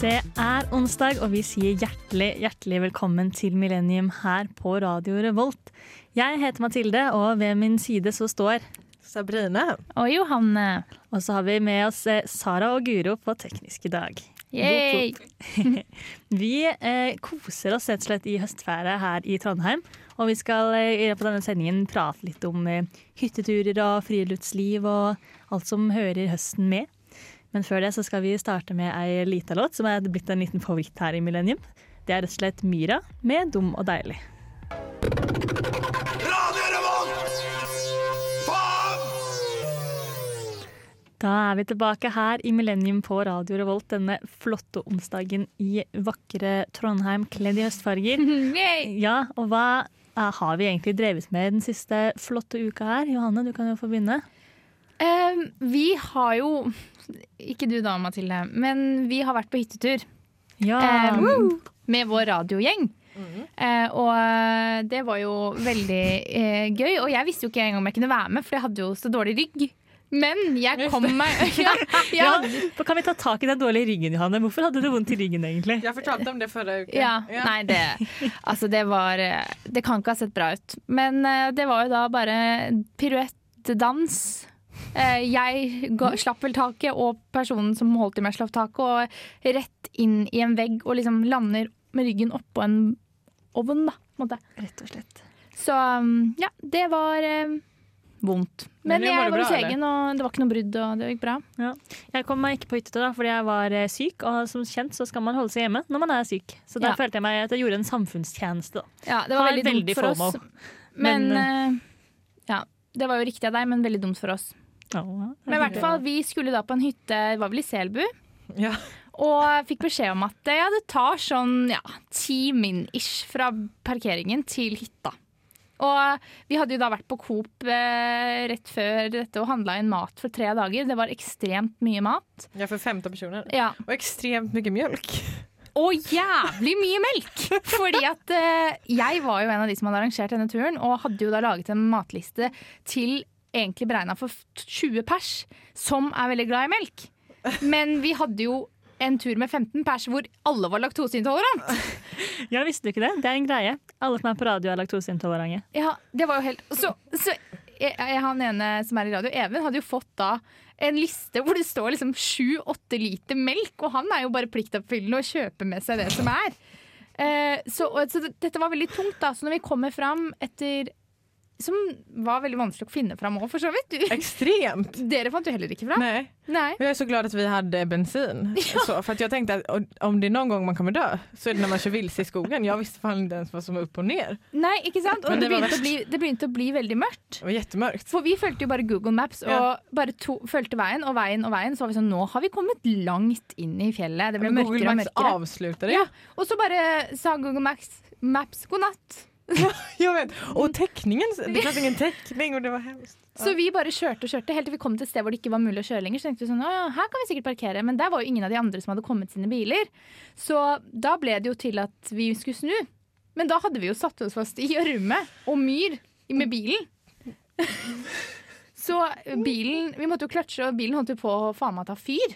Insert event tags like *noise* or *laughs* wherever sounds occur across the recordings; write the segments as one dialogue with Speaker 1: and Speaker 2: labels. Speaker 1: Det er onsdag, og vi sier hjertelig, hjertelig velkommen til Millennium her på Radio Revolt. Jeg heter Mathilde, og ved min side så står
Speaker 2: Sabrine.
Speaker 3: Og Johanne.
Speaker 1: Og så har vi med oss eh, Sara og Guro på teknisk i dag.
Speaker 3: Yay!
Speaker 1: Vi eh, koser oss rett og slett i høstfæret her i Trondheim, og vi skal eh, i løpet av denne sendingen prate litt om eh, hytteturer og friluftsliv og alt som hører høsten med. Men før det så skal vi starte med ei lita låt som er blitt en liten favoritt her i Millennium. Det er rett og slett Myra med 'Dum og deilig'.
Speaker 4: Radio Revolt! Faen!
Speaker 1: Da er vi tilbake her i Millennium på Radio Revolt denne flotte onsdagen i vakre Trondheim kledd i høstfarger.
Speaker 3: Yay!
Speaker 1: Ja, og hva eh, har vi egentlig drevet med den siste flotte uka her? Johanne, du kan jo få begynne.
Speaker 3: Ehm, vi har jo Ikke du da, Mathilde, men vi har vært på hyttetur
Speaker 1: Ja, Mm.
Speaker 3: ehm, med vår radiogjeng. Eh, og det var jo veldig eh, gøy. Og jeg visste jo ikke engang om jeg kunne være med, for jeg hadde jo så dårlig rygg. Men jeg kom meg *laughs* ja, ja,
Speaker 1: Ja, da kan vi ta tak i den dårlige ryggen, Johanne? Hvorfor hadde du vondt i ryggen egentlig?
Speaker 2: Jeg fortalte om det forrige uke.
Speaker 3: Ja, nei det Altså det var eh, Det kan ikke ha sett bra ut Men eh, det var jo da bare piruettdans Eh, Jeg ga, slapp vel taket Og personen som holdt i meg slapp taket Og rett inn i en vegg Og liksom lander med ryggen opp på en ovn da på en måte.
Speaker 1: Rett og slett.
Speaker 3: Så um, ja, det var eh, vondt
Speaker 2: Men
Speaker 3: Men
Speaker 2: det
Speaker 3: jeg
Speaker 2: var
Speaker 3: var
Speaker 2: det
Speaker 3: hos
Speaker 2: bra,
Speaker 3: egen Og det var ikke noe brudd og det gikk bra
Speaker 1: Jeg kom meg ikke på hyttetur da, fordi jeg var eh, syk, og som kjent så skal man holde seg hjemme når man er syk. Så da
Speaker 3: Ja.
Speaker 1: følte jeg meg at jeg gjorde en samfunnstjeneste. da.
Speaker 3: Ja, det var
Speaker 1: Har
Speaker 3: veldig dumt
Speaker 1: veldig
Speaker 3: for
Speaker 1: FOMO.
Speaker 3: oss. Men,
Speaker 1: Men,
Speaker 3: eh, ja, det var jo riktig av deg, men veldig dumt for oss.
Speaker 1: Ja, det er
Speaker 3: Men i hvert
Speaker 1: hyggelig.
Speaker 3: fall, vi skulle da på en hytte, det var vel i Selbu,
Speaker 2: Ja.
Speaker 3: og fikk beskjed om at eh, ja, det tar sånn ja, ti min-ish fra parkeringen til hytta. Og vi hadde jo da vært på Coop eh, rett før dette og handla inn mat for tre dager. Det var ekstremt mye mat.
Speaker 2: Jeg er for 15 personer.
Speaker 3: Ja,
Speaker 2: Og ekstremt mye mjølk.
Speaker 3: Og jævlig mye melk! Fordi at eh, jeg var jo en av de som hadde arrangert denne turen, og hadde jo da laget en matliste til egentlig beregna for f- 20 pers, som er veldig glad i melk. Men vi hadde jo en tur med 15 pers hvor alle var laktoseintolerant.
Speaker 1: Ja, visste du ikke det? Det er en greie. Alle som er på radio er laktoseintolerante.
Speaker 3: Ja, det var jo helt Så, så jeg, jeg, han ene som er i radio, Even, hadde jo fått da en liste hvor det står liksom sju-åtte liter melk, og han er jo bare pliktoppfyllende og kjøper med seg det som er. Eh, så, og, så det- dette var veldig tungt, da. Så når vi kommer fram etter Som var veldig vanskelig å finne fram òg, for så vidt. Du,
Speaker 2: Ekstremt!
Speaker 3: dere fant jo heller ikke fram.
Speaker 2: *laughs* Nej.
Speaker 3: Nei.
Speaker 2: Och jag är så glad att vi hade bensin. Så, för att jag tänkte att o- om det är någon gång man kommer dö så är det när man kör vilse i skogen. Jeg visste fan inte ens vad som var upp och ner.
Speaker 3: Nei, ikke sant? Og
Speaker 2: Men
Speaker 3: det
Speaker 2: det var
Speaker 3: begynte, å
Speaker 2: verst.
Speaker 3: bli, det begynte å bli veldig mørkt.
Speaker 2: Det var jättemörkt.
Speaker 3: For vi fulgte jo bare Google Maps og
Speaker 2: Ja.
Speaker 3: bare to, fulgte veien og veien og veien. Så var vi sånn, nå har vi kommet langt inn i fjellet. Det ble
Speaker 2: Google
Speaker 3: mørkere og
Speaker 2: Maps
Speaker 3: mørkere.
Speaker 2: avslutade.
Speaker 3: Ja, og så bare sa Google Maps, Maps god natt.
Speaker 2: Jag vet.
Speaker 3: Mm.
Speaker 2: Och täckningen, det fanns ingen täckning och det var hemskt.
Speaker 3: Så vi bare kjørte og kjørte helt til vi kom til et sted hvor det ikke var mulig å kjøre lenger. Så tenkte vi sånn, «Å ja, her kan vi sikkert parkere, men der var jo ingen av de andre som hadde kommet sine biler. Så da ble det jo til at vi skulle snu. Men da hadde vi jo satt oss fast i gjørme og myr med bilen. Så bilen, vi måtte jo kløtsje, og bilen holdt jo på å faen meg ta fyr.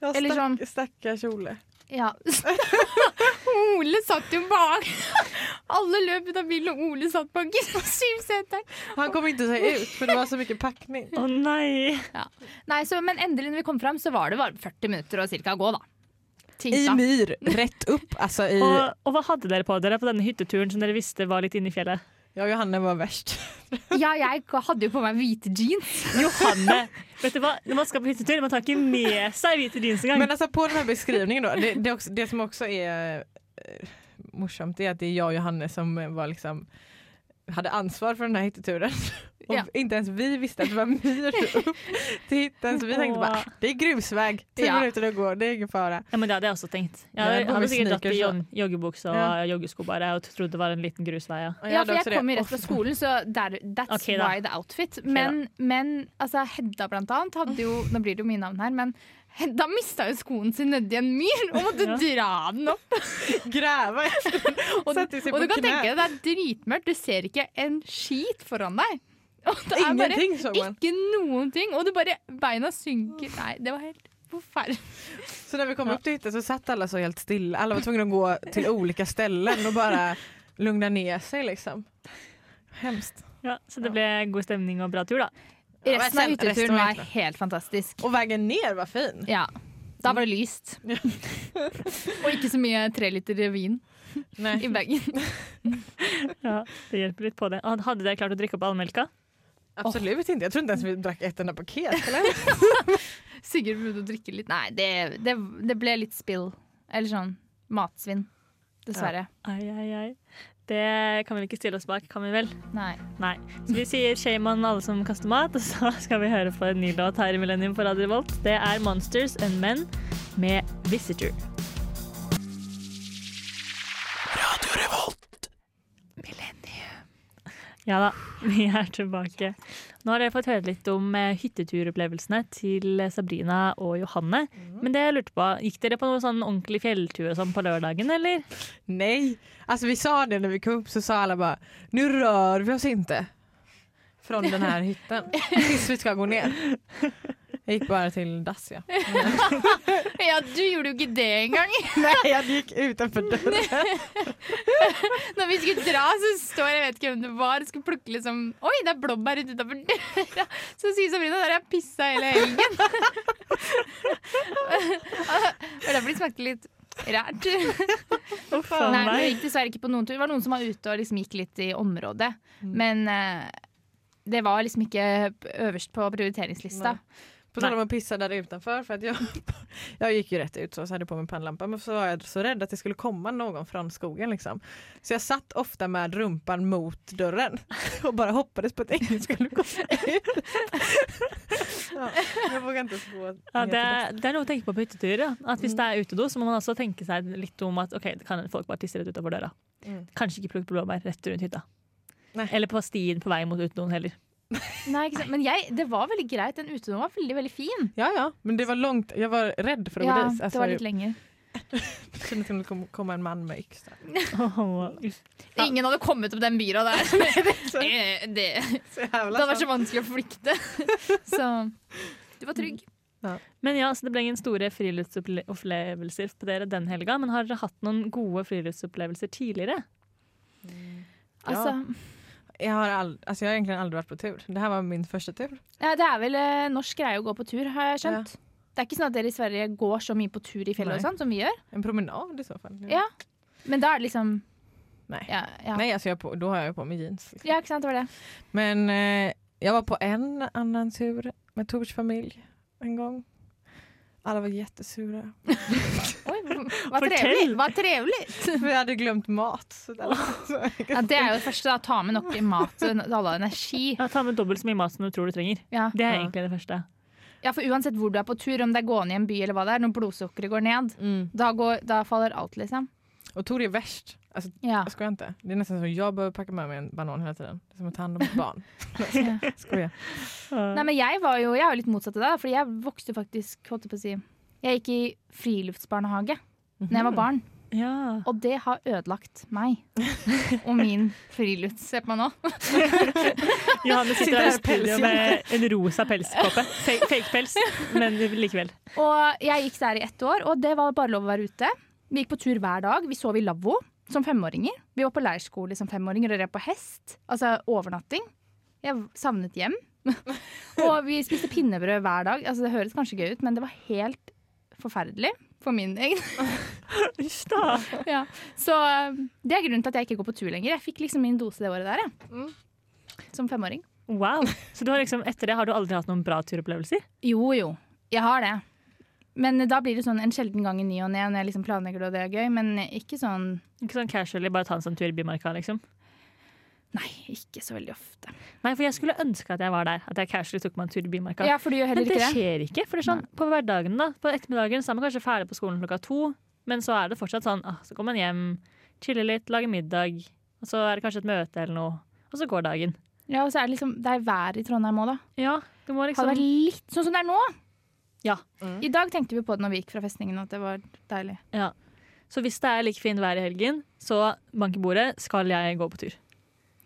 Speaker 2: Ja,
Speaker 3: Eller
Speaker 2: stack-
Speaker 3: sånn-
Speaker 2: Stackars Ole.
Speaker 3: Ja. *laughs* Ole satt jo bak. Alle løp ut av bilen, og Ole satt bak i syvseteren.
Speaker 2: Han kom inte sig ut för det var så mycket packning.
Speaker 1: Å nei!
Speaker 3: Nei, så, men endelig når vi kom fram, så var det bare 40 minutter å cirka gå, da. Til
Speaker 2: I
Speaker 3: hytta.
Speaker 2: myr, rätt upp. Alltså i...
Speaker 1: Og, og hva hadde dere på dere på denne hytteturen som dere visste var litt inne i fjellet?
Speaker 2: Jag och Johanna var värst.
Speaker 3: Ja, jeg hadde jo på meg hvite jeans.
Speaker 1: Johanne! Vet du hva? Når man skal på hyttetur, man tar ikke med seg hvite jeans engang.
Speaker 2: Men alltså på den här beskrivningen då, det, det, är också, det som också är eh, morsamt är att det är jag och Johanne som eh, var liksom hade ansvar för den här hytteturen. Och
Speaker 3: Ja.
Speaker 2: inte ens vi visste att det var myr upp till hytten så vi tänkte bara
Speaker 1: Åh.
Speaker 2: "Ah, det är grusväg, tio
Speaker 3: Ja.
Speaker 2: minuter att gå, det är ingen fara.
Speaker 1: Ja, men Det hadde jeg også tenkt. Jeg
Speaker 2: Ja,
Speaker 1: hadde,
Speaker 2: jeg bor
Speaker 1: hadde
Speaker 2: med
Speaker 1: sikkert dratt i
Speaker 2: sneakers,
Speaker 1: jog- joggebukse og
Speaker 2: Ja.
Speaker 1: joggesko bare og trodde det var en liten grusvei. Ja.
Speaker 2: Och
Speaker 3: Ja,
Speaker 2: hade
Speaker 3: for jeg
Speaker 2: också det.
Speaker 3: kom jo rett
Speaker 2: Och
Speaker 3: fra skolen, så der, that's
Speaker 1: Ok, da.
Speaker 3: why the outfit. Men, men altså, Hedda blant annet hadde jo Nå blir det jo mine navn her, men Hedda mista jo skoen sin nedi en myr og måtte
Speaker 1: Ja.
Speaker 3: dra den opp.
Speaker 2: *laughs* gräva efter *laughs* den.
Speaker 3: Og,
Speaker 2: Satte sig
Speaker 3: og
Speaker 2: på
Speaker 3: du kan
Speaker 2: knä.
Speaker 3: tenke deg, det er dritmørkt, du ser ikke en skit foran deg. Og det er bare
Speaker 2: Ingenting såg man.
Speaker 3: ikke noen ting, og du bare Beina synker. Nei, det var helt forferdelig.
Speaker 2: Så när vi kom upp till hytten så satt alla så helt stilla. Alla var tvungna att gå till olika ställen och bara lugna ner sig liksom. Hemskt.
Speaker 1: Ja, så det ble god stemning og bra tur, da.
Speaker 2: Ja, men
Speaker 3: Resten av
Speaker 2: sen- resten
Speaker 3: hytteturen
Speaker 2: var
Speaker 3: var
Speaker 2: hyttetur.
Speaker 3: helt fantastisk.
Speaker 2: Och vägen ner var fin.
Speaker 3: Ja. Da var det lyst. *laughs* Og ikke så mye treliter vin i
Speaker 2: Nej.
Speaker 3: bagen. *laughs*
Speaker 1: Ja, det hjelper litt på det. Had- Hadde dere klart å drikke opp all melka?
Speaker 2: Absolut inte. Jag tror inte ens vi drack ett enda paket. *laughs* Eller?
Speaker 3: Sigurd begynte å drikke litt. Nei, det, det, det ble litt spill. Eller sånn matsvinn. Dessverre.
Speaker 1: Ai, ai, ai. Det kan vi vel ikke stille oss bak, kan vi vel?
Speaker 3: Nei.
Speaker 1: Nei. Så vi sier shame on alle som kaster mat, og så *laughs* skal vi høre på en ny låt her i Millennium på Radio Revolt. Det er Monsters and Men med Visitor.
Speaker 4: Radio Revolt.
Speaker 1: Ja da, *laughs* vi er tilbake. Nå har dere fått høre litt om eh, hytteturopplevelsene til Sabrina og Johanne. Men det jeg lurte på, gikk dere på noen sånn ordentlig fjelltur og sånn på lørdagen, eller?
Speaker 2: Nej. Alltså vi sa det när vi kom upp så sa alla bara nu rör vi oss inte. Från den här hytten. Tills vi ska gå *laughs* ner. Jag gick bara till dass ja.
Speaker 3: *laughs* Ja, du gjorde jo ikke det engang!
Speaker 2: Nej jag gick *laughs* utanför dörren.
Speaker 3: *laughs* Når vi skulle dra, så står jeg vet ikke hvem det var, og skulle plukke liksom Oi, det er blåbær rundt utafor døra! *laughs* Så sier Sabrina der har jeg pissa hele helgen. *laughs* Og derfor det smakte litt Rært.
Speaker 1: Uff a
Speaker 3: Nei, vi
Speaker 1: meg.
Speaker 3: gikk dessverre ikke på noen tur. Det var noen som var ute og liksom gikk litt i området.
Speaker 2: Mm.
Speaker 3: Men eh, det var liksom ikke øverst på prioriteringslista.
Speaker 2: Nei. På tal om att pissa där utanför för att jag, jag gick ju rätt ut så, så hade jag på mig pannlampa men så var jag så rädd att det skulle komma någon från skogen liksom. Så jag satt ofta med rumpan mot *laughs* dörren och bara hoppades på att ingen skulle komma ut.
Speaker 3: *laughs*
Speaker 2: ja, jag vågar inte ens gå
Speaker 1: Ja,
Speaker 2: ner
Speaker 1: det,
Speaker 2: till dass.
Speaker 1: er- det er noe å tenke på på hyttetur. Ja. At hvis det er utedo, så må man også tenke seg litt om at ok, det kan folk bare tisse rett utover døra.
Speaker 2: Mm.
Speaker 1: Kanskje ikke plukk blåbær rett rundt hytta.
Speaker 2: Nei.
Speaker 1: Eller på stien på vei mot utedoen heller.
Speaker 3: Nei, ikke sant? Men jeg, det var veldig greit. Den utedoen var veldig veldig fin.
Speaker 2: Ja, ja, men det var långt. Jag var rädd för att
Speaker 3: Ja,
Speaker 2: gå dit. Altså,
Speaker 3: det
Speaker 2: Alltså,
Speaker 3: var litt lenger.
Speaker 2: jag kände som att det kom- komma en man med yxa.
Speaker 1: Åh, uff.
Speaker 3: Ingen hadde kommet opp den byra *laughs* der. Eh, det,
Speaker 2: Så jävla
Speaker 3: det hadde
Speaker 2: sant.
Speaker 3: vært *laughs* så sånn. vanskelig å flykte. *laughs* Så du var trygg.
Speaker 1: Men ja, så Det ble ingen store friluftsopplevelser på dere den helga, men har dere hatt noen gode friluftsopplevelser tidligere?
Speaker 3: Altså,
Speaker 2: jag, har all, alltså, jag har egentligen aldrig varit på tur. Det här var min första tur.
Speaker 3: ja, det er vel eh, norsk greie å gå på tur, har jeg skjønt. Det er ikke sånn at dere i Sverige går så mye på tur i fjellet og
Speaker 2: Nei.
Speaker 3: sånn som vi gjør.
Speaker 2: En promenad i så fall.
Speaker 3: Ja. Men da er det liksom
Speaker 2: Nej.
Speaker 3: Ja, ja.
Speaker 2: Nej, alltså jag altså, på, då har jag ju på mig jeans. liksom.
Speaker 3: ja ikke sant, det var det.
Speaker 2: Men eh, jag var på en annan tur med Tors familj en gång. Alla var *laughs* jättesura.
Speaker 3: Oi, hva
Speaker 1: Fortell!
Speaker 3: trevlig! Hva trevlig!
Speaker 2: Vi hade glömt mat. Så där.
Speaker 3: Ja, det er jo det første, da. Ta med nok mat så alle har energi.
Speaker 1: Ja, ta med dobbelt så mye mat som du tror du trenger.
Speaker 3: Ja.
Speaker 1: Det er
Speaker 2: Ja.
Speaker 1: egentlig det første.
Speaker 3: ja, for uansett hvor du er på tur, om det er gående i en by eller hva det er, når blodsukkeret går ned,
Speaker 2: Mm.
Speaker 3: da, går, da faller alt, liksom.
Speaker 2: Och Tor är värst. Alltså,
Speaker 3: Ja.
Speaker 2: jag skojar inte. Det är nästan så jag behöver packa med mig en banan hela tiden. Det är som att ta hand om ett barn. Nej, jag skojar.
Speaker 3: Nei, men jeg var jo, jeg er jo litt motsatt av deg, fordi jeg vokste faktisk holdt jeg på å si, Jeg gikk i friluftsbarnehage da jeg var barn,
Speaker 1: Ja. *laughs*
Speaker 3: og det har ødelagt meg. Og min frilufts... Se på meg nå.
Speaker 1: Johanne sitter
Speaker 2: Sitter
Speaker 1: her i
Speaker 2: her i
Speaker 1: studio
Speaker 2: pels,
Speaker 1: med en rosa pelskåpe. Fake, fake pels, men likevel.
Speaker 3: Og jeg gikk der i ett år, og det var bare lov å være ute. Vi gikk på tur hver dag. Vi sov i lavvo som femåringer. Vi var på leirskole som femåringer og red på hest. Altså overnatting. Jeg savnet hjem. og vi spiste pinnebrød hver dag. Altså, det høres kanskje gøy ut, men det var helt forferdelig for min egen
Speaker 1: Uff da.
Speaker 3: ja. Så um, det er grunnen til at jeg ikke går på tur lenger. Jeg fikk liksom min dose det året der, jeg. Som femåring.
Speaker 1: Wow. Så du har liksom, etter det har du aldri hatt noen bra turopplevelser?
Speaker 3: Jo jo, jeg har det. Men da blir det sånn en sjelden gang i ny og ne når jeg liksom planlegger det og det er gøy, men ikke sånn
Speaker 1: Ikke sånn casually, bare ta en sånn tur i Bymarka, liksom?
Speaker 3: Nei, ikke så veldig ofte.
Speaker 1: Nei, for jeg skulle ønske at jeg var der. At jeg casually tok meg en tur i Bymarka.
Speaker 3: Ja, for du gjør
Speaker 1: men
Speaker 3: heller
Speaker 1: det
Speaker 3: ikke det?
Speaker 1: skjer ikke. For det er sånn, på hverdagen, da. På ettermiddagen så er man kanskje ferdig på skolen klokka to, men så er det fortsatt sånn ah, så kommer man hjem, chiller litt, lager middag, og så er det kanskje et møte eller noe, og så går dagen.
Speaker 3: Ja, og så er det liksom Det er vær i Trondheim òg, da.
Speaker 1: Ja, du må
Speaker 3: Hadde
Speaker 1: liksom
Speaker 3: vært litt sånn som det er nå.
Speaker 1: Ja.
Speaker 3: I dag tenkte vi på det når vi gikk fra festningen, at det var deilig.
Speaker 1: Så hvis det er like fint vær i helgen, så bank i bordet, skal jeg gå på tur.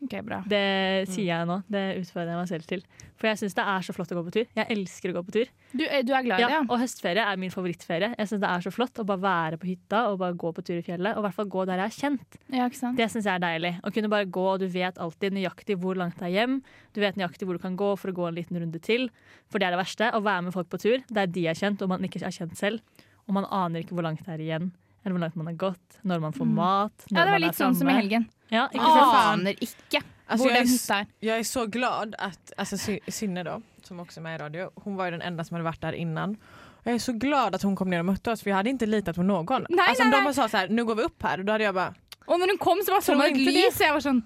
Speaker 3: Ok, bra.
Speaker 1: Det sier jeg nå. Det utfordrer jeg meg selv til. For jeg syns det er så flott å gå på tur. Jeg elsker å gå på tur.
Speaker 3: Du, eh, du er glad i det,
Speaker 1: Ja,
Speaker 3: ja?
Speaker 1: og høstferie er min favorittferie. Jeg synes Det er så flott å bare være på hytta og bare gå på tur i fjellet. Og i hvert fall gå der jeg er kjent.
Speaker 3: Ja, ikke sant?
Speaker 1: Det syns jeg er deilig. Å kunne bare gå, og du vet alltid nøyaktig hvor langt det er hjem. Du vet nøyaktig hvor du kan gå for å gå en liten runde til. For det er det verste. Å være med folk på tur der de er kjent, og man ikke er kjent selv. Og man aner ikke hvor langt det er igjen, eller hvor langt man har gått, når man får mat, når
Speaker 3: Mm. Ja, det var
Speaker 1: man
Speaker 3: litt sånn som i helgen.
Speaker 1: Ja, ikke
Speaker 3: Jeg
Speaker 1: sant?
Speaker 2: Ah.
Speaker 3: aner ikke
Speaker 2: *laughs* Alltså,
Speaker 3: hvor
Speaker 2: jag är
Speaker 3: den
Speaker 2: s-
Speaker 3: hytta er.
Speaker 2: Jag är så glad att alltså, Sy- Synne då, som också är med i radio, hon var ju den enda som hade varit där innan. Jag är så glad att hon kom ner och mötte oss för jag hade inte litat på någon.
Speaker 3: Nej,
Speaker 2: alltså, om
Speaker 3: nej,
Speaker 2: de
Speaker 3: nej.
Speaker 2: bara sa så här, nu går vi upp här, då hade jag bara
Speaker 3: Og når hun kom, så var
Speaker 2: Tror
Speaker 3: sånn et
Speaker 2: ikke
Speaker 3: lys, og jeg var sånn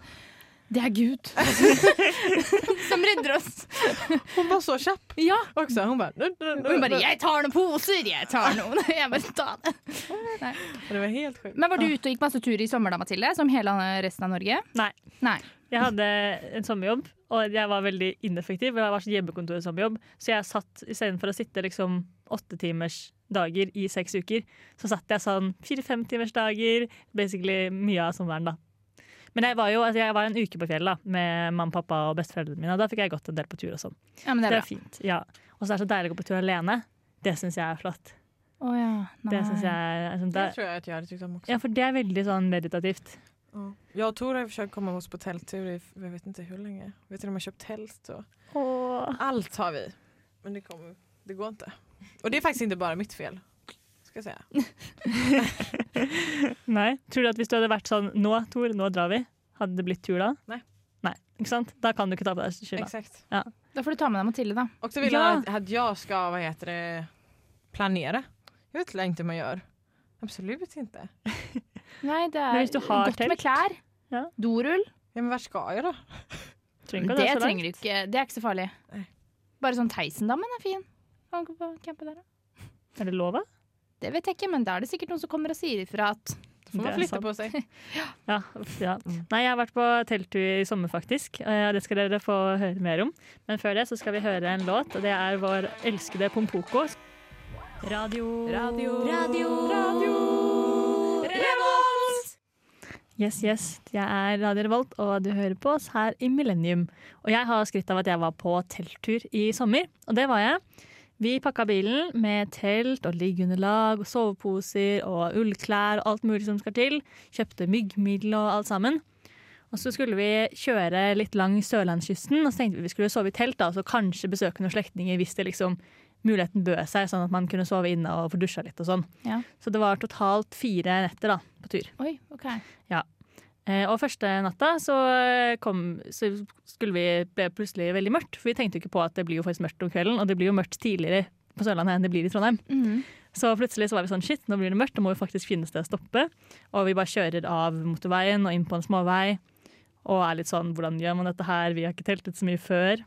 Speaker 3: Det er *laughs* Gud som redder oss.
Speaker 2: Hon var så kjapp
Speaker 3: Ja.
Speaker 2: också. Hon bara, nu, nu, nu,
Speaker 3: Og hun bare
Speaker 2: nu.
Speaker 3: 'Jeg tar noen poser, jeg tar noen'. *laughs* Jeg bare ta det.
Speaker 2: Det var helt sjukt.
Speaker 3: Men var du ute og gikk masse tur i sommer da, Mathilde? Som hele resten av Norge?
Speaker 1: Ah. Nei.
Speaker 3: Nei.
Speaker 1: Jeg hadde en sommerjobb, og jeg var veldig ineffektiv. Jeg var sånn hjemmekontor sommerjobb, så jeg satt istedenfor å sitte liksom åttetimers dager i seks uker, så satt jeg sånn fire-fem timers dager, basically mye av sommeren, da. Men jeg var jo altså jeg var en uke på fjellet da, med mamma, pappa og besteforeldrene mine, og da fikk jeg gått en del på tur og sånn.
Speaker 3: Ja, men
Speaker 1: Det
Speaker 3: det er
Speaker 1: er
Speaker 3: bra.
Speaker 1: fint. ja. Og så er det så deilig å gå på tur alene. Det syns jeg er flott.
Speaker 3: Å ja. Nei.
Speaker 1: Det synes jeg er sånn,
Speaker 2: Det
Speaker 1: det,
Speaker 2: tror jag att jag hade tyckt om också.
Speaker 1: Ja, for det er veldig sånn meditativt.
Speaker 2: Ja. Jag och Tor har försökt komma oss på tälttur i, jag vet inte hur länge. Vi har till och med köpt tält och allt har vi. Men det, kommer, det går inte. Och det är faktiskt inte bara mitt fel. Ska jag säga.
Speaker 1: Nei. Tror du at hvis du hadde vært sånn Nå, Tor, nå drar vi. Hadde det blitt tur da?
Speaker 2: Nei.
Speaker 1: Nei, ikke sant? Da kan du ikke ta på deg skylda.
Speaker 2: Exakt.
Speaker 3: Da får du ta med deg Mathilde, da.
Speaker 2: Och så vill
Speaker 1: Ja.
Speaker 2: han att, att jag ska, vad heter det, planera. Jag vet inte hur man gör. Absolut inte.
Speaker 3: Nei, det
Speaker 1: Men
Speaker 3: er
Speaker 1: hvis du har
Speaker 3: godt med
Speaker 1: telt?
Speaker 3: klær.
Speaker 1: Ja.
Speaker 3: Dorull.
Speaker 2: Ja, men vart ska jag då?
Speaker 1: Trenger ikke å
Speaker 3: Det
Speaker 1: dra så langt.
Speaker 3: trenger du ikke. Det er ikke så farlig.
Speaker 2: Nei.
Speaker 3: Bare sånn Theisendammen er fin. Å gå på campe der, da.
Speaker 1: Er det lov, da?
Speaker 3: Det vet jeg ikke, men da er det sikkert noen som kommer og sier ifra at
Speaker 2: Då får
Speaker 1: Det
Speaker 2: man
Speaker 1: är
Speaker 2: flytta
Speaker 1: sant. *laughs*
Speaker 2: på sig.
Speaker 1: Ja, uff, ja.
Speaker 2: Mm.
Speaker 1: Nei, jeg har vært på telttur i sommer, faktisk. eh, Og det skal dere få høre mer om. Men før det så skal vi høre en låt, og det er vår elskede Pompoko. Radio
Speaker 2: Radio.
Speaker 1: Radio. Yes, yes. Jeg er Radio Revolt, og du hører på oss her i Millennium. Og jeg har skrytt av at jeg var på telttur i sommer, og det var jeg. Vi pakka bilen med telt og liggeunderlag og soveposer og ullklær og alt mulig som skal til. Kjøpte myggmiddel og alt sammen. Og så skulle vi kjøre litt langs sørlandskysten, og så tenkte vi vi skulle sove i telt, da, og så kanskje besøke noen slektninger hvis det liksom muligheten bød seg, sånn at man kunne sove inne og få dusja litt og sånn.
Speaker 3: Ja.
Speaker 1: Så det var totalt fire netter da, på tur.
Speaker 3: Oi, OK.
Speaker 1: Eh, Og første natta så, eh, kom, så skulle vi ble plutselig veldig mørkt, for vi tenkte jo ikke på at det blir jo faktisk mørkt om kvelden, og det blir jo mørkt tidligere på Sørlandet enn det blir i Trondheim.
Speaker 3: Mhm.
Speaker 1: Så plutselig så var vi sånn shit, nå blir det mørkt, nå må vi faktisk finne et sted å stoppe. Og vi bare kjører av motorveien og inn på en småvei. Og er litt sånn hvordan gjør man dette her, vi har ikke teltet så mye før.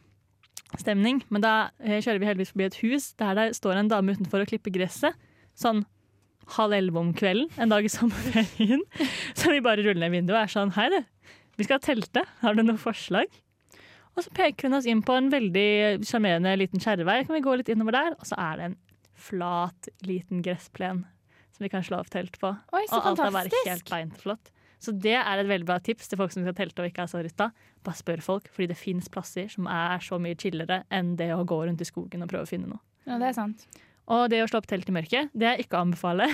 Speaker 1: Stemning. Men da eh, kjører vi heldigvis forbi et hus der det står en dame utenfor og klipper gresset. Sånn halv elleve om kvelden en dag i sommerferien. *laughs* Så vi bare ruller ned vinduet og er sånn hei du, vi skal telte, har du noen forslag? Og så peker hun oss inn på en veldig sjarmerende liten kjerrevei. Kan vi gå litt innover der? Og så er det en flat, liten gressplen som vi kan slå opp telt på.
Speaker 3: Oi, så
Speaker 1: og alt er bare helt
Speaker 3: fantastisk.
Speaker 1: beint flott. Så det er et veldig bra tips til folk som skal telte og ikke er så rytta. Bare spør folk, fordi det fins plasser som er så mye chillere enn det å gå rundt i skogen og prøve å finne noe.
Speaker 3: Ja, det er sant.
Speaker 1: Og det å slå opp telt i mørket, det er ikke å anbefale.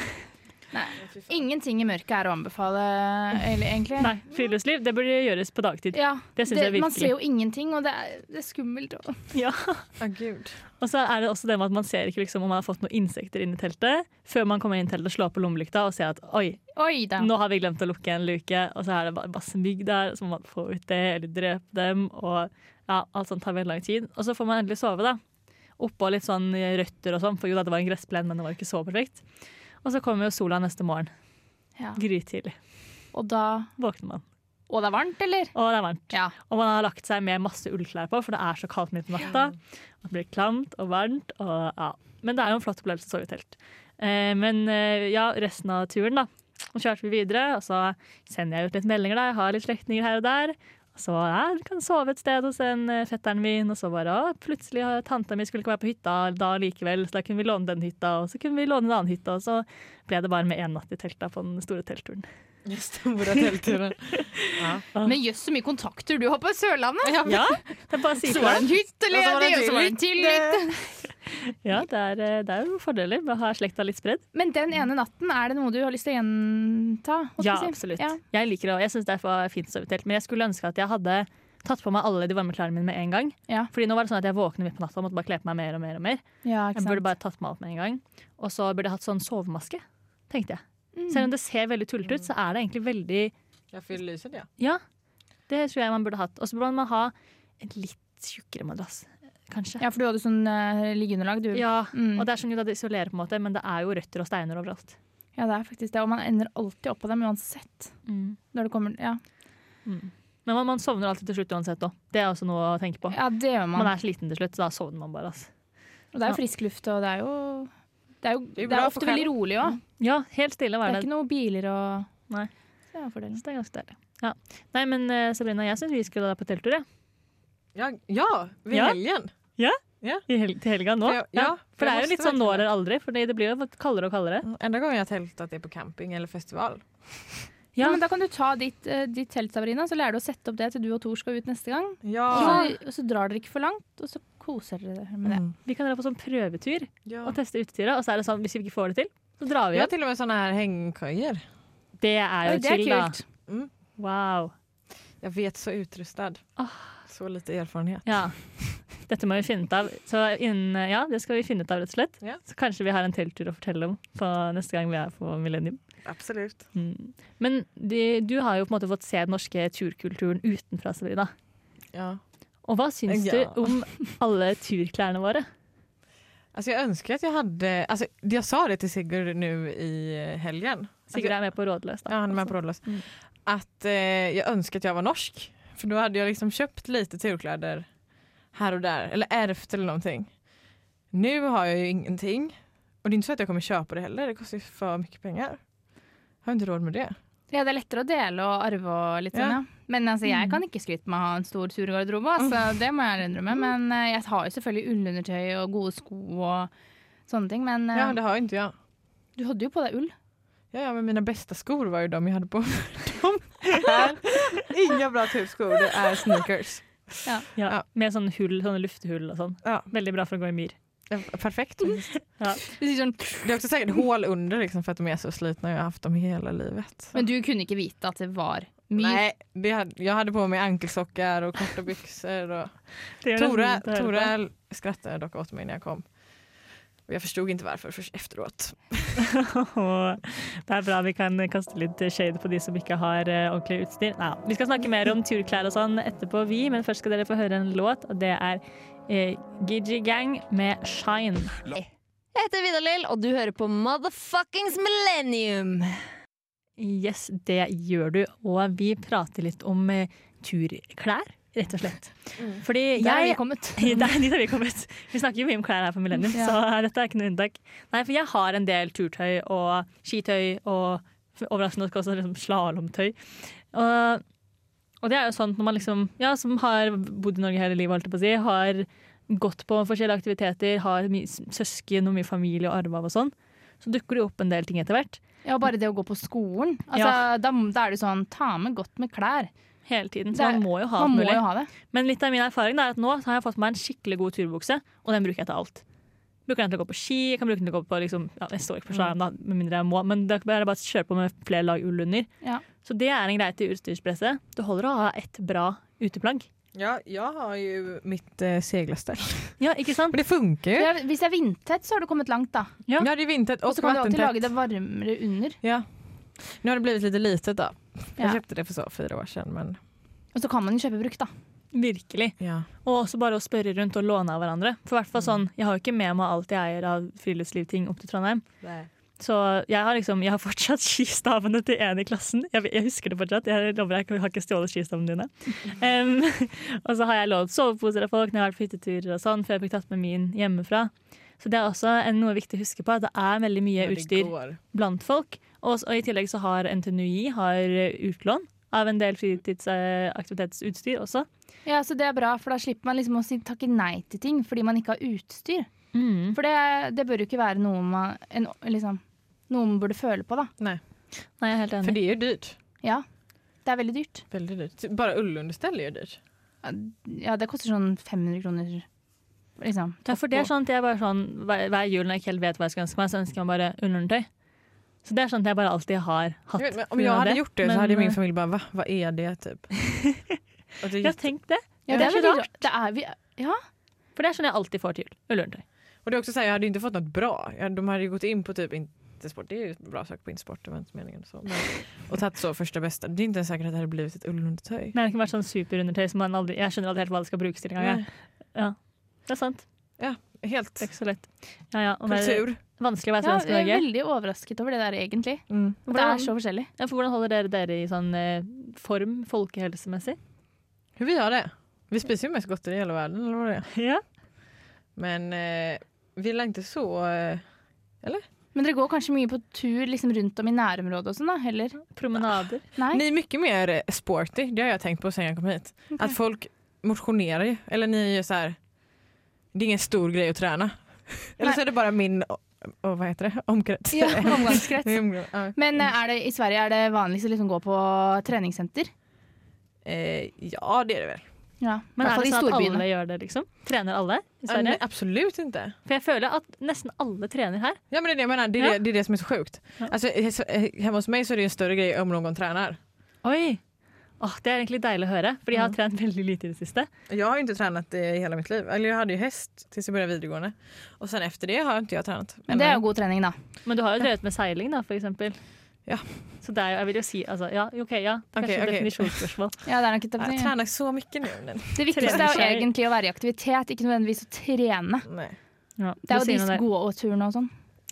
Speaker 3: Ingenting i mørket er å anbefale, eller egentlig.
Speaker 1: Nei, friluftsliv, det burde gjøres på dagtid.
Speaker 3: Ja,
Speaker 1: Det synes jeg
Speaker 3: Man
Speaker 1: virkelig.
Speaker 3: ser jo ingenting, og det er, det er skummelt. og-
Speaker 1: Ja.
Speaker 2: Ja, gud.
Speaker 1: Og så er det også det med at man ser ikke liksom om man har fått noen insekter inn i teltet, før man kommer inn i teltet og slår på lommelykta og ser at oi,
Speaker 3: Oi da.
Speaker 1: Nå har vi glemt å lukke en luke, og så er det bare masse mygg der, så må man få ut det, eller drepe dem, og ja, alt sånt tar veldig lang tid. Og så får man endelig sove, da. Oppå litt sånn røtter og sånn, for jo da, det var en gressplen, men det var ikke så perfekt. Og så kommer jo sola neste morgen,
Speaker 3: Ja.
Speaker 1: grytidlig.
Speaker 3: Og da
Speaker 1: Våkner man,
Speaker 3: Og det er varmt, eller?
Speaker 1: og det er varmt.
Speaker 3: Ja.
Speaker 1: Og man har lagt seg med masse ullklær på, for det er så kaldt midt på natta. Det blir klamt og varmt. Og, ja. Men det er jo en flott opplevelse å sove i telt. Eh, men eh, ja, resten av turen, da. Så kjørte vi videre, og så sender jeg ut litt meldinger. da, Jeg har litt slektninger her og der. Og så ja, vi kan sove et sted hos en eh, fetteren min, og så bare å, plutselig har tanta mi skulle ikke være på hytta da likevel, så da kunne vi låne den hytta, og så kunne vi låne en annen hytte, og så ble det bare med én natt i telta på den store teltturen. *laughs*
Speaker 2: Stora teltturen. Ja.
Speaker 3: Men jøss, så mye kontakter du har på Sørlandet!
Speaker 1: Ja, det er bare å si
Speaker 3: Så
Speaker 1: fra.
Speaker 3: var det en hytte
Speaker 2: Og så var det
Speaker 3: ledig, og så var det en til hytte.
Speaker 1: Ja, det er, eh, det er jo fordeler med å ha slekta litt spredd.
Speaker 3: Men den ene natten, er det noe du har lyst til å gjenta? holdt
Speaker 1: Ja,
Speaker 3: jeg på å si?
Speaker 1: absolutt.
Speaker 3: Ja.
Speaker 1: Jeg liker det, og jeg syns det var fint sovetelt. Men jeg skulle ønske at jeg hadde tatt på meg alle de varme klærne mine med en gang.
Speaker 3: Ja.
Speaker 1: Fordi nå var det sånn at jeg våknet midt på natta og måtte bare kle på meg mer og mer. og mer.
Speaker 3: Ja, ikke
Speaker 1: Jeg
Speaker 3: sant.
Speaker 1: burde bare tatt meg alt med en gang. Og så burde jeg hatt sånn sovemaske, tenkte jeg.
Speaker 3: Mm.
Speaker 1: Selv om det ser veldig tullete ut, så er det egentlig veldig
Speaker 2: Jeg fyller lyset, ja.
Speaker 1: Ja, det tror jeg man burde hatt. Og så burde man ha en litt tjukkere madrass, kanskje.
Speaker 3: Ja, for du hadde sånn eh, liggeunderlag, du.
Speaker 1: Ja,
Speaker 3: Mm.
Speaker 1: og det er sånn jo da det isolerer på en måte, men det er jo røtter og steiner overalt.
Speaker 3: Ja, det er faktisk det. Og man ender alltid opp på dem uansett. Når det kommer, ja.
Speaker 1: Mm. Men man, man sovner alltid til slutt uansett òg. Det er også noe å tenke på.
Speaker 3: ja, det gjør man.
Speaker 1: Man er sliten til slutt, så da sovner man bare. Altså.
Speaker 3: Og det er jo frisk luft, og det er jo Det er, jo,
Speaker 2: er jo
Speaker 3: det er,
Speaker 2: bra for
Speaker 3: ofte veldig rolig òg.
Speaker 1: Ja, helt stille å
Speaker 3: Det
Speaker 1: være der.
Speaker 3: er ikke noe biler og
Speaker 1: Nei.
Speaker 3: Så Det er fordelen.
Speaker 1: Så det er ganske deilig. Ja. Nei, men eh, Sabrina, jeg syns vi skulle da på telttur, jeg.
Speaker 2: Ja, ja vid
Speaker 1: Ja.
Speaker 2: helgen.
Speaker 1: I hel til helga nå.
Speaker 2: For jeg- ja,
Speaker 1: For det er
Speaker 2: jeg
Speaker 1: jo litt
Speaker 2: måste
Speaker 1: sånn nå
Speaker 2: verkligen-
Speaker 1: eller aldri, for det blir jo kaldere og kaldere.
Speaker 2: Enda gången jeg har teltat er på camping eller festival.
Speaker 1: Ja.
Speaker 3: Ja, men da kan du ta ditt, eh, ditt telt, Sabrina, så lærer du å sette opp det til du og Tor skal ut neste gang.
Speaker 2: Ja.
Speaker 3: Og så, og så drar dere ikke for langt, og så koser dere dere med det.
Speaker 2: Mm.
Speaker 1: Vi kan dra på sånn prøvetur
Speaker 2: ja.
Speaker 1: og teste utetyret, og så er det sånn hvis vi ikke får det til, så drar vi
Speaker 2: Vi har
Speaker 1: hjem.
Speaker 2: til og med sånne her hengekøyer.
Speaker 1: Det er
Speaker 3: Oi,
Speaker 1: jo
Speaker 3: det er
Speaker 1: chill, da.
Speaker 3: kult.
Speaker 1: Wow.
Speaker 2: Jeg vet, så utrustad.
Speaker 1: Ah.
Speaker 2: Så lite erfarenhet.
Speaker 1: Ja. Dette må vi finne ut av. Så innen, ja, det skal vi finne ut av, rett og slett.
Speaker 2: Ja.
Speaker 1: Så kanskje vi har en telttur å fortelle om på neste gang vi er på Millennium.
Speaker 2: Absolutt.
Speaker 1: Mm. Men de, du har jo på en måte fått se den norske turkulturen utenfra, Sabrina.
Speaker 2: Ja.
Speaker 1: Og hva syns
Speaker 2: Ja.
Speaker 1: du om alle turklærne våre?
Speaker 2: Alltså jag önskar att jag hade, alltså jag altså, sa det till Sigurd nu i eh, helgen.
Speaker 1: Sigurd er med på Rådløs.
Speaker 2: Altså, Ja,
Speaker 1: Da.
Speaker 2: han är med på Rådlös.
Speaker 1: Mm.
Speaker 2: Att eh, jag önskar att jag var norsk. För då hade jag liksom köpt lite turkläder här och där. Eller ärvt eller någonting. Nu har jag ju ingenting. Och det är inte så att jag kommer köpa det heller. Det kostar ju för mycket pengar. Jag har inte råd med det.
Speaker 3: Ja, det er lettere å dele og arve og litt sånn,
Speaker 2: Ja.
Speaker 3: ja. Men altså, jeg kan ikke skryte med å ha en stor turgarderobe, altså, det må jeg innrømme. Men eh, jeg har jo selvfølgelig ullundertøy og gode sko og sånne ting, men eh,
Speaker 2: Ja, det har ju inte jag.
Speaker 3: du hadde jo på deg ull.
Speaker 2: Ja, ja, men mina bästa skor var ju de jag hade på mig. De är inga bra turskor. Det är sneakers.
Speaker 1: Ja,
Speaker 2: Ja.
Speaker 1: Med sånne hull, sånne lufthull och sånn.
Speaker 2: Ja.
Speaker 1: Veldig bra for å gå i myr.
Speaker 2: Ja, Perfekt.
Speaker 3: Du sier sånn,
Speaker 2: Det är också säkert hål under liksom, för att de är så slitna. Jag har haft dem hela livet. Så.
Speaker 3: Men du kunne ikke vite at det var myr.
Speaker 2: Nej, det hade, jag hade på mig ankelsockar och *laughs* korta byxor. Och... Tora, Tora skrattade dock åt mig när jag kom. Och jag förstod inte varför först efteråt.
Speaker 1: *laughs* Og det er bra vi kan kaste litt shade på de som ikke har eh, ordentlig utstyr. Nei, vi skal snakke mer om turklær og sånn etterpå, vi, men først skal dere få høre en låt, og det er eh, Gigi Gang med 'Shine'.
Speaker 5: Jeg heter Vidar-Lill, og du hører på Motherfuckings Millennium.
Speaker 1: Yes, det gjør du, og vi prater litt om eh, turklær, rett og slett.
Speaker 5: Mm.
Speaker 1: Fordi
Speaker 3: Der er
Speaker 1: jeg
Speaker 3: vi kommet.
Speaker 1: *laughs* Det er dit har vi kommet. Vi snakker jo mye om klær her på Millennium,
Speaker 3: Ja.
Speaker 1: så *laughs* dette er ikke noe unntak. Nei, for jeg har en del turtøy og skitøy og overraskende nok også liksom slalåmtøy. Og, og det er jo sånn når man liksom, ja, som har bodd i Norge hele livet, holdt jeg på å si, har gått på forskjellige aktiviteter, har mye s- søsken og mye familie og arve av og sånn, så dukker det opp en del ting etter hvert.
Speaker 3: Ja, bare det å gå på skolen. Altså,
Speaker 1: Ja.
Speaker 3: da, da er det sånn, ta med godt med klær.
Speaker 1: Hele tiden,
Speaker 3: Det
Speaker 1: så
Speaker 3: er-
Speaker 1: man må jo ha
Speaker 3: Man
Speaker 1: alt
Speaker 3: må
Speaker 1: mulig.
Speaker 3: jo ha det.
Speaker 1: Men litt av min erfaring da, er at nå så har jeg fått meg en skikkelig god turbukse, og den bruker jeg til alt. Bruker den til å gå på ski, jeg kan bruke den til å gå på liksom, ja, Jeg står ikke på slalåm, da, med mindre jeg må, men da er det bare å kjøre på med flere lag ull under.
Speaker 3: Ja.
Speaker 1: Så det er en greie til utstyrspresset. Det holder å ha ett bra uteplagg.
Speaker 2: Ja, jag har ju mitt eh, seglarställ.
Speaker 1: Ja, ikke sant?
Speaker 2: *laughs* Men det funkar ju.
Speaker 3: Det er, hvis det er vindtett, så har du kommet langt, da.
Speaker 1: Ja.
Speaker 2: Ja, det är vintert
Speaker 3: Og
Speaker 2: och
Speaker 3: så kan du alltid lage
Speaker 2: vattentätt.
Speaker 3: det varmere under.
Speaker 2: Ja. Nu har det blivit lite litet då.
Speaker 3: Ja.
Speaker 2: Jag köpte det för så fyra år sedan. Men...
Speaker 3: Og så kan man jo kjøpe brukt, da.
Speaker 1: Virkelig.
Speaker 2: Ja.
Speaker 1: Og også bare å spørre rundt og låne av hverandre. For i hvert fall sånn, Jeg har jo ikke med meg alt jeg eier av friluftslivting opp til Trondheim. Så jeg har, liksom, jeg har fortsatt *laughs* skistavene til en i klassen. Jeg, jeg husker det fortsatt. Jeg lover deg, jeg har ikke stjålet skistavene dine. Em, *laughs* og så har jeg lånt soveposer av folk når jeg har vært på hytteturer og sånn, før jeg fikk tatt med min hjemmefra. Så det er også en, noe viktig å huske på. at Det er veldig mye
Speaker 2: Men det
Speaker 1: utstyr
Speaker 2: går.
Speaker 1: blant folk. Og, s- og i tillegg så har NTNUI har eh, utlån av en del fritidsaktivitetsutstyr også.
Speaker 3: Ja, så Det er bra, for da slipper man liksom å si takke nei til ting fordi man ikke har utstyr. Mm. For det, det bør jo ikke være noe man en, liksom, noe man burde føle på, da.
Speaker 2: Nei.
Speaker 1: Nei, jeg er helt
Speaker 2: För
Speaker 1: enig.
Speaker 2: det är ju dyrt.
Speaker 3: Ja, det er veldig dyrt.
Speaker 2: Väldigt dyrt. Bara ullunderställ är ju dyrt.
Speaker 3: Ja, det koster sånn 500 kroner, liksom.
Speaker 1: Ja, for det er sånn at jeg bare sånn, hver, hver jul når jeg ikke helt vet hva jeg skal ønske meg, så ønsker jeg meg bare undertøy. Så det er sånn at jeg bare alltid har hatt.
Speaker 2: Jag vet, men
Speaker 1: på
Speaker 2: om
Speaker 1: grunn
Speaker 2: jag
Speaker 1: av
Speaker 2: hade gjort det så hade
Speaker 1: men,
Speaker 2: min familj bara va? Vad är det *laughs* typ? Och det,
Speaker 1: eh, Jeg
Speaker 2: är
Speaker 1: har tenkt det.
Speaker 3: sånn-
Speaker 1: det
Speaker 3: Ja, det
Speaker 1: er
Speaker 3: er
Speaker 1: så
Speaker 3: veldig rart. Det er vi, ja.
Speaker 1: For det er sånn jeg alltid får til jul. Ullundertøy.
Speaker 2: och det är också så här, jag hade inte fått något bra. Jag, de hade ju gått in på typ inte sport. Det är ju en bra sak på insport, det var inte meningen så. Men, och tagit så första bästa. Det är inte ens säkert att det hade blivit ett ullundertöj.
Speaker 1: Men det har ikke vært sånn superundertøy som man aldri Jeg skjønner aldri helt hva det skal brukes til engang. jeg. Det er sant.
Speaker 2: Helt
Speaker 1: Det er ikke så lett. Ja, ja. Og det er
Speaker 2: kultur.
Speaker 1: vanskelig å være
Speaker 3: ja.
Speaker 1: svensk i
Speaker 3: Jeg er
Speaker 1: Norge.
Speaker 3: veldig overrasket over det der, egentlig.
Speaker 2: Mm.
Speaker 3: At Det
Speaker 1: Hvordan-
Speaker 3: er så forskjellig.
Speaker 1: Ja, for hvordan holder dere dere i sånn eh, form
Speaker 3: *laughs*
Speaker 1: folkehelsemessig?
Speaker 2: Hur vi har det. Vi spiser ju mest gott i hela världen eller vad det är.
Speaker 1: Ja.
Speaker 2: Men eh, vi är inte så... Eh,
Speaker 3: Men dere går kanskje mye på tur liksom rundt om i nærområdet og sånn, da? Heller?
Speaker 1: Promenader.
Speaker 3: Nei?
Speaker 2: Ni är mycket mer eh, sporty, det har jag tänkt på sen jag kom hit. Att folk motionerar ju, eller ni är ju så här, det är ingen stor grej att träna. eller så är det bara min, och, och vad heter det, omkrets.
Speaker 3: Ja,
Speaker 2: *laughs*
Speaker 3: omgangskrets.
Speaker 2: Min omgång, ja.
Speaker 3: Men eh, er det, i Sverige er det vanligst å liksom gå på treningssenter?
Speaker 2: Eh, ja det är det väl.
Speaker 3: Ja, i
Speaker 1: Men
Speaker 3: hvert
Speaker 1: er
Speaker 3: fall
Speaker 1: det
Speaker 3: i
Speaker 1: sånn at alle
Speaker 3: storbyene.
Speaker 1: gjør det, liksom? Trener alle i
Speaker 2: Ja,
Speaker 1: Sverige?
Speaker 2: nej, absolut inte.
Speaker 1: For jeg føler at nesten alle trener her.
Speaker 2: Ja men det är det jag menar, det är,
Speaker 1: Ja.
Speaker 2: det, det, är det som är så sjukt.
Speaker 1: Ja.
Speaker 2: Alltså, he- hemma hos mig så är det ju en större grej om någon tränar.
Speaker 1: Oi! Åh, det er egentlig deilig å høre, for jeg har trent veldig lite i det siste.
Speaker 2: Jag har ju inte tränat eh, i hela mitt liv. Eller jag hade ju häst tills jag började videregående. Och sen efter det har inte jag tränat.
Speaker 3: Men det er jo god trening, da.
Speaker 1: Men du har jo drevet med seiling, da, for eksempel.
Speaker 2: Ja.
Speaker 1: Så det er jo, jeg vil jo si altså, Ja, OK, ja. Det er
Speaker 2: Ok,
Speaker 1: kanskje et
Speaker 2: ok.
Speaker 1: definisjonsspørsmål.
Speaker 3: Ja, det, er nok et,
Speaker 2: Jag tränar så mycket nu. men-
Speaker 3: det viktigste er jo
Speaker 1: trening.
Speaker 3: egentlig å være i aktivitet, ikke nødvendigvis å trene.
Speaker 2: Nej.
Speaker 1: Ja,
Speaker 3: Det er
Speaker 1: du
Speaker 3: jo
Speaker 1: sier noe
Speaker 3: de
Speaker 1: der.
Speaker 3: gåturene og sånn.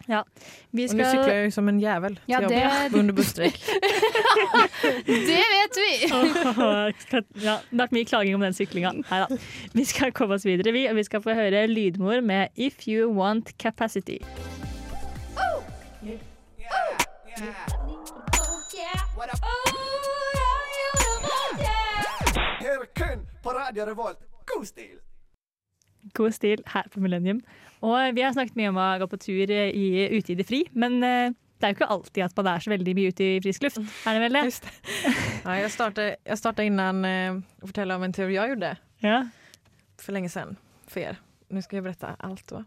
Speaker 1: Vi
Speaker 2: Och nu cyklar
Speaker 1: skal
Speaker 2: jag ju som en jävel
Speaker 3: Ja,
Speaker 2: till jobbet
Speaker 3: det-
Speaker 2: under busstreck.
Speaker 3: Det vet
Speaker 1: *laughs*
Speaker 3: vi!
Speaker 1: Åh, skal- ja, Det har vært mye klaging om den syklinga. Nei da. Vi skal komme oss videre, vi, og vi skal få høre Lydmor med 'If You Want Capacity'.
Speaker 6: Her kun på Radio Revolt. God stil!
Speaker 1: God stil her på Millennium. Og vi har snakket mye om å gå på tur i, ute i det fri, men eh, det er jo ikke alltid at man er så veldig mye ute i frisk luft. Er det vel det?
Speaker 2: Just det. Ja, jag, startade, jag startade innan eh, och fortälla om en teori jag gjorde
Speaker 1: Ja.
Speaker 2: för länge sedan för er. Nu ska jag berätta allt. Va?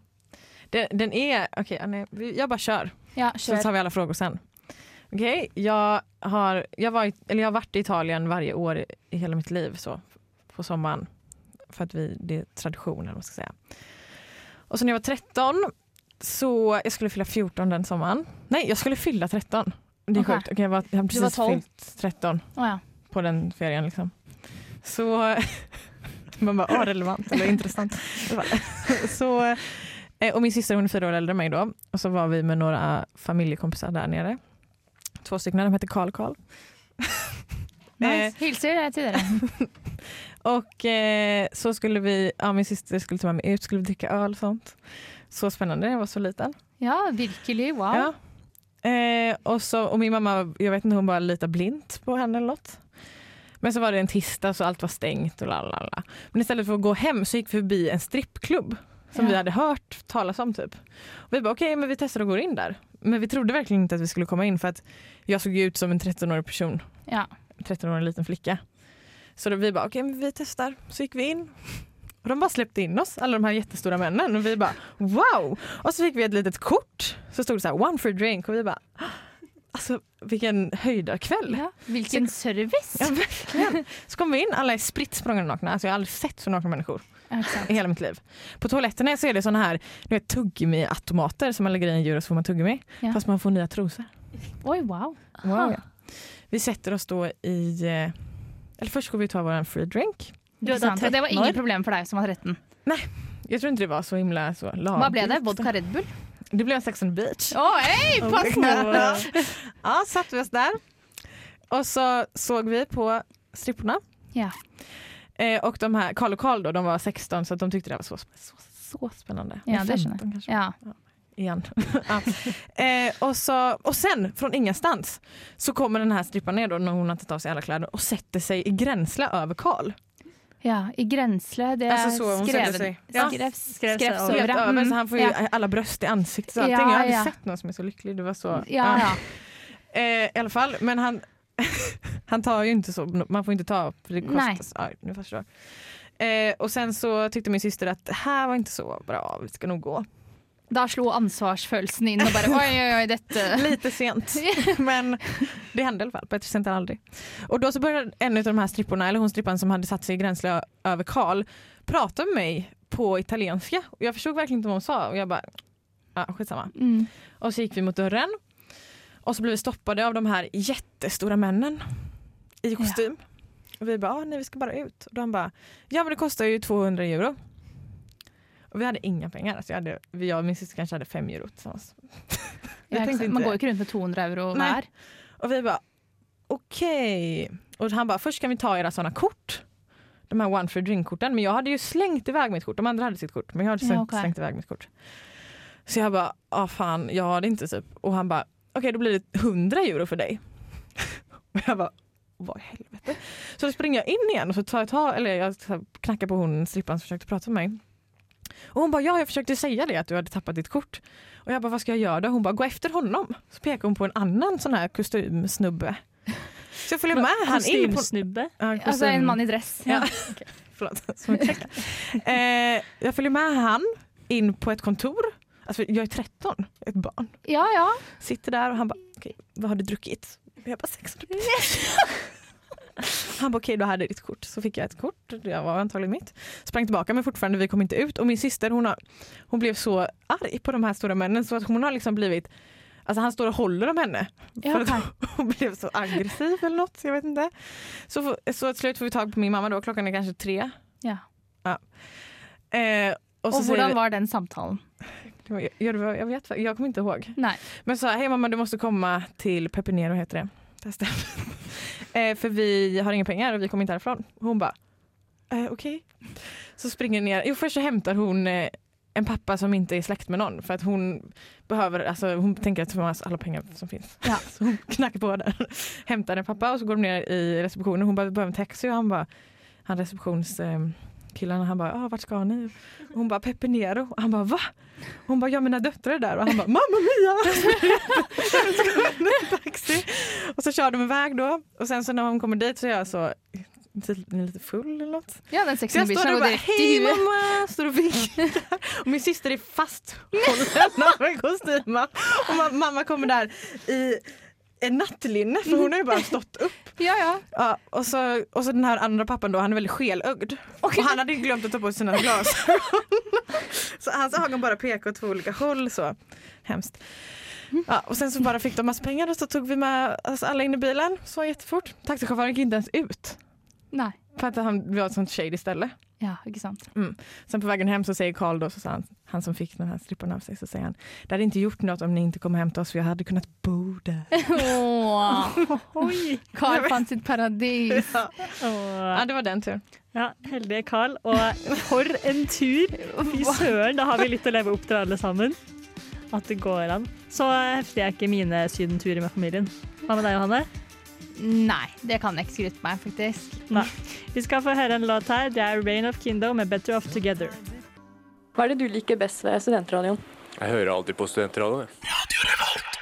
Speaker 2: Den, den är... Okej, ja, nej, vi- jag bara kör.
Speaker 3: Ja,
Speaker 2: Så
Speaker 3: kjør.
Speaker 2: tar vi alla frågor sen. Okej, jag, har, jeg var, i- eller jag har varit i Italien varje år i- i hela mitt liv så, på sommaren. För att vi, det är tradition eller vad man ska säga. Och så när jag var 13 så, jag skulle fylla 14 den sommaren. Nej, jag skulle fylla 13. Det är
Speaker 3: Okej.
Speaker 2: sjukt. Okej, jag, var, jag har precis
Speaker 3: 12.
Speaker 2: fyllt 13
Speaker 3: Å ja.
Speaker 2: på den ferien liksom. Så *laughs* man bara, åh relevant eller intressant. *laughs* så, eh, och min syster hon är fyra år äldre än mig då och så var vi med några familjekompisar där nere. Två stycken, de hette Karl Karl.
Speaker 3: Nice. Hilser jeg til dere.
Speaker 2: Och eh, så skulle vi, ja min syster skulle ta med mig ut, skulle vi dricka öl och sånt. Så spännande, jag var så liten.
Speaker 3: Ja, virkelig. Wow.
Speaker 2: Ja. Eh, och, så, och min mamma, jag vet inte, hon bara litade blint på henne eller något. Men så var det en tisdag så allt var stängt och la la la. Men istället för att gå hem så gick vi förbi en strippklubb som
Speaker 3: Ja.
Speaker 2: vi hade hört talas om typ. Och vi bara okej, men vi testar och går in där. Men vi trodde verkligen inte att vi skulle komma in för att jag såg ju ut som en 13-årig person,
Speaker 3: Ja.
Speaker 2: 13-årig liten flicka. Så då vi bara okej, men vi testar. Så gick vi in. Och de bara släppte in oss, alla de här jättestora männen. Och vi bara wow! Och så fick vi ett litet kort. Så stod det så här one free drink och vi bara "Ah, alltså vilken höjdarkväll.
Speaker 3: Ja, Hvilken service!
Speaker 2: Ja, verkligen. Så kom vi in, alla är spritt språngande nakna. Alltså jag har aldrig sett så nakna människor
Speaker 3: Ja, ikke sant.
Speaker 2: i hela mitt liv. På toaletterna så är det såna här du vet, tuggummi-automater som man lägger i en djur och så får man tuggummi.
Speaker 3: Ja.
Speaker 2: Fast man får nya trosor.
Speaker 3: Oi, wow.
Speaker 2: Wow. Vi sätter oss då i... eh, Eller först går vi ta vår free drink.
Speaker 1: Du er
Speaker 3: Ikke
Speaker 1: da
Speaker 3: sant? Og det var
Speaker 1: 13
Speaker 3: ingen
Speaker 1: år.
Speaker 3: problem for deg som var 13.
Speaker 2: Jag tror inte det var så himla så lagligt.
Speaker 3: Hva ble det? Vodka Red Bull?
Speaker 2: Det blev en Sex on the beach. Oh
Speaker 3: Å, hei! Pass
Speaker 1: Åh.
Speaker 2: Ja, satte vi oss där. Och så såg vi på stripporna.
Speaker 3: Ja.
Speaker 2: Eh, och de här, Karl och Karl då, de var 16 så att de tyckte det var så, så, så spännande.
Speaker 3: Ja,
Speaker 2: Men
Speaker 3: det känner
Speaker 2: 15 kanske.
Speaker 3: Ja.
Speaker 2: igen. *laughs* ja. eh, och, så, och sen, från ingenstans, så kommer den här strippan ner då när hon har tagit av sig alla kläder och sätter sig i gränsle över Karl.
Speaker 3: ja. I grensle. Det er
Speaker 2: Altså, så hun setter
Speaker 3: skrevet.
Speaker 2: seg. Ja.
Speaker 3: Skrev,
Speaker 1: Skrev seg
Speaker 3: skrevs
Speaker 1: over.
Speaker 2: Helt
Speaker 3: over. ja.
Speaker 2: över,
Speaker 3: Mm.
Speaker 2: så han får ju
Speaker 3: ja.
Speaker 2: alla bröst i ansiktet och
Speaker 3: Ja,
Speaker 2: allting. Jag har aldrig
Speaker 3: ja.
Speaker 2: sett någon som är så lycklig. Det var så...
Speaker 3: Ja, ja.
Speaker 2: Eh, I alla fall, men han, *laughs* han tar ju inte så, man får inte ta för det
Speaker 3: Nej.
Speaker 2: kostar. Ja, nu förstår jag. Eh, och sen så tyckte min syster att det här var inte så bra, vi ska nog gå.
Speaker 3: Da slo ansvarsfølelsen inn og bare oi, oi, oi, dette
Speaker 2: Lite
Speaker 3: *laughs*
Speaker 2: sent, men det hände i alla fall. Bättre sent än aldrig. Och då så började en av de här stripporna, eller hon strippan som hade satt sig i gränsle över Karl, prata med mig på italienska. Och jag förstod verkligen inte vad hon sa och jag bara, ja skitsamma.
Speaker 3: mm.
Speaker 2: Och så gick vi mot dörren. Och så blev vi stoppade av de här jättestora männen i kostym. Och vi bara, "Ah, nej vi ska bara ut. Och de bara, ja men det kostar ju 200 euro. Og vi hadde inga penger. Alltså jag, hade, vi- jag och min syster kanske hade fem euro tillsammans.
Speaker 3: Ja,
Speaker 2: Jag
Speaker 3: ikke
Speaker 2: tänkte
Speaker 3: sant? Man
Speaker 2: inte-
Speaker 3: går jo ikke rundt med 200 euro
Speaker 2: Nei.
Speaker 3: hver.
Speaker 2: Och vi bara, okej. Och han bara, först kan vi ta era sådana kort. De här one for drink-korten. Men jag hade ju slängt iväg mitt kort. De andra hade sitt kort. Men jag hade
Speaker 3: Ja,
Speaker 2: slängt,
Speaker 3: okej.
Speaker 2: slängt iväg mitt kort. Så jag bara, ja fan, jag har det inte typ. Och han bara, okej då blir det 100 euro för dig. *laughs* Och jag bara, vad i helvete. Så då springer jag in igen och så tar jag tag, eller jag så här knackar på hon strippan som försökte prata med mig. Och hon bara, ja jag försökte säga det att du hade tappat ditt kort. Och jag bara, vad ska jag göra då? Hon bara, gå efter honom. Så pekar hon på en annan sån här kostymsnubbe. Så jag följer med han in på...
Speaker 1: Kostymsnubbe.
Speaker 2: Ja,
Speaker 3: Altså en mann i dress. Ja.
Speaker 2: Förlåt, *laughs* som en check. eh, jag följer med han in på ett kontor. Alltså jag är 13, ett barn.
Speaker 3: ja ja.
Speaker 2: Sitter där och han bara, okej, vad har du druckit? Och Jag bara, 600 *laughs* Han bara, okej du hade ditt kort. Så fick jag ett kort, det var antagligen mitt. Sprang tillbaka men fortfarande, vi kom inte ut. Och min syster hon, har, hon blev så arg på de här stora männen så att hon har liksom blivit, alltså han står och håller om henne. *laughs*
Speaker 3: Ja,
Speaker 2: för att
Speaker 3: okej.
Speaker 2: hon blev så aggressiv eller något, jag vet inte. Så, får- så till slut får vi tag på min mamma då, klockan är kanske tre.
Speaker 3: Ja.
Speaker 2: Eh, och så
Speaker 3: Og
Speaker 2: säger
Speaker 3: hvordan var den samtalen?
Speaker 2: vi, jag, jag, jag vet jag kommer inte ihåg.
Speaker 3: Nei.
Speaker 2: Men sa hej mamma du måste komma till Pepinero heter det. det stämmer. *laughs* eh, för vi har inga pengar och vi kommer inte härifrån. Hon bara eh, okej. Så springer ner. Jo först så hämtar hon eh, en pappa som inte är släkt med någon för att hon behöver, alltså hon tänker att hon har alla pengar som finns.
Speaker 3: Ja.
Speaker 2: *laughs* Så hon knackar på där, *laughs* hämtar en pappa och så går de ner i receptionen. Hon bara vi behöver en taxi och han bara, han receptionskillarna han bara, ah, vart ska ni? Och hon bara Pepinero och han bara va? Hon bara, ja mina döttrar är där och han bara, mamma mia! *laughs* Så kom det en taxi. Och så kör de iväg då och sen så när hon kommer dit så är jag så, ni är lite full eller något?
Speaker 3: Ja, den
Speaker 2: Så jag står
Speaker 3: sexen-bitchen
Speaker 2: där
Speaker 3: har
Speaker 2: och
Speaker 3: gått
Speaker 2: bara
Speaker 3: rett i
Speaker 2: hej
Speaker 3: huet.
Speaker 2: mamma! Står och vinkar. Och min syster är fasthållen *laughs* av en kostym. Och ma- mamma kommer där i en nattlinne för hon har ju bara stått upp.
Speaker 3: Ja ja.
Speaker 2: Ja, och, så, och så den här andra pappan då, han är väldigt skelögd. Och han hade ju glömt att ta på sig sina glasögon. så hans ögon bara pekade åt två olika håll. Så. Hemskt. Ja, och sen så bara fick de massa pengar och så tog vi med oss alla in i bilen. Så jättefort. Taxichauffören gick inte ens ut.
Speaker 3: Nei.
Speaker 2: För att han var ett sånt shady ställe.
Speaker 3: Ja, ikke sant.
Speaker 2: Sen på vägen hem så säger Karl då, så sa han, han som fick den här strippan av sig, så säger han det hade inte gjort något om ni inte kom och hämtade oss för jag hade kunnat bo där.
Speaker 3: Åh,
Speaker 1: Oi!
Speaker 3: Carl fant
Speaker 2: *laughs*
Speaker 3: sitt paradis.
Speaker 2: Ja,
Speaker 1: *laughs* Og,
Speaker 2: det var den turen.
Speaker 1: ja, heldige Carl. Og for en tur! Fy søren, da har vi litt å leve opp til alle sammen. At det går an. Så heftig er ikke mine sydenturer med familien. Hva med deg, Johanne?
Speaker 2: Mm.
Speaker 3: Nei, det kan jeg ikke skryte meg, faktisk.
Speaker 1: Nei. Vi skal få høre en låt her. Det er Rain of Kindo med Better Off Together.
Speaker 7: Hva er det du liker best ved studentradioen?
Speaker 8: Jeg hører alltid på studentradioen. jeg.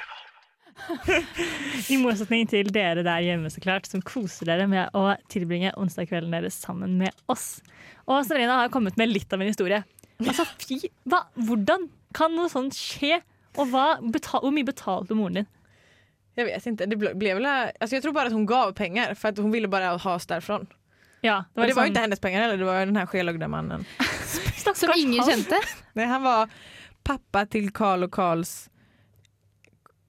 Speaker 1: I motsetning til dere der hjemme, så klart, som koser dere med å tilbringe onsdagskvelden deres sammen med oss. Og Serena har kommet med litt av en historie. Altså, fy, hva, Hvordan kan noe sånt skje? Og hva, betal, hvor mye betalte moren din?
Speaker 2: Jag vet inte, det ble- blev väl, alltså jag tror bara att hon gav pengar för att hon ville bara ha oss därifrån.
Speaker 1: Ja,
Speaker 2: Det var, det var ju
Speaker 1: sånn-
Speaker 2: inte hennes pengar heller, det var ju den här skelögda mannen.
Speaker 1: Stakkars
Speaker 3: Som ingen
Speaker 1: han.
Speaker 3: kjente.
Speaker 2: Nej, han var pappa till Karl och Karls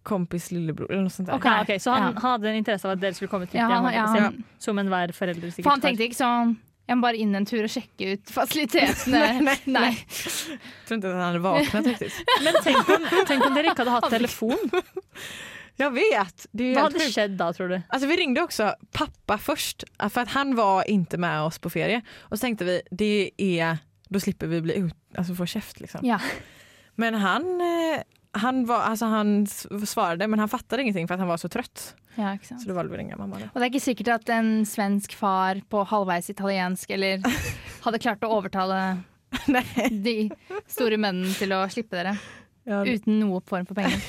Speaker 2: kompis lillebror eller något sånt där.
Speaker 3: Okej.
Speaker 1: Ja, ok, så han,
Speaker 3: Ja.
Speaker 1: han hadde en interesse av at dere skulle komme trygt
Speaker 3: Ja,
Speaker 1: hjem?
Speaker 3: han,
Speaker 1: holdt
Speaker 3: ja,
Speaker 1: jeg på å si.
Speaker 3: han,
Speaker 1: Som enhver forelder sikkert
Speaker 3: for han
Speaker 1: har.
Speaker 3: tenkte ikke sånn Jeg må bare inn en tur og
Speaker 1: *laughs*
Speaker 3: sjekke ut *laughs* fasilitetene. nei,
Speaker 2: Jag tror inte att han hade vaknat *laughs* riktigt.
Speaker 1: Men tenk om, tenk om dere ikke hadde hatt telefon.
Speaker 2: Jag vet, det är ju
Speaker 1: Hva
Speaker 2: helt
Speaker 1: hadde
Speaker 2: sjukt.
Speaker 1: skjedd da, tror du?
Speaker 2: Alltså vi ringde också pappa först eh, för att han var inte med oss på ferie. Och så tänkte vi, det är, då slipper vi bli ut, alltså få käft liksom.
Speaker 3: Ja.
Speaker 2: Men han, eh, han, var, alltså han s- svarade men han fattade ingenting för att han var så trött.
Speaker 3: Ja, ikke
Speaker 2: Så
Speaker 3: sant.
Speaker 2: då valde vi att ringa mamma. Då.
Speaker 3: Og det er ikke sikkert at en svensk far på halvveis italiensk eller
Speaker 1: *laughs*
Speaker 3: hadde klart å overtale
Speaker 2: Nej.
Speaker 3: de store mennene til å slippe dere.
Speaker 2: Ja,
Speaker 3: uten noe form for
Speaker 1: *laughs*
Speaker 3: penger.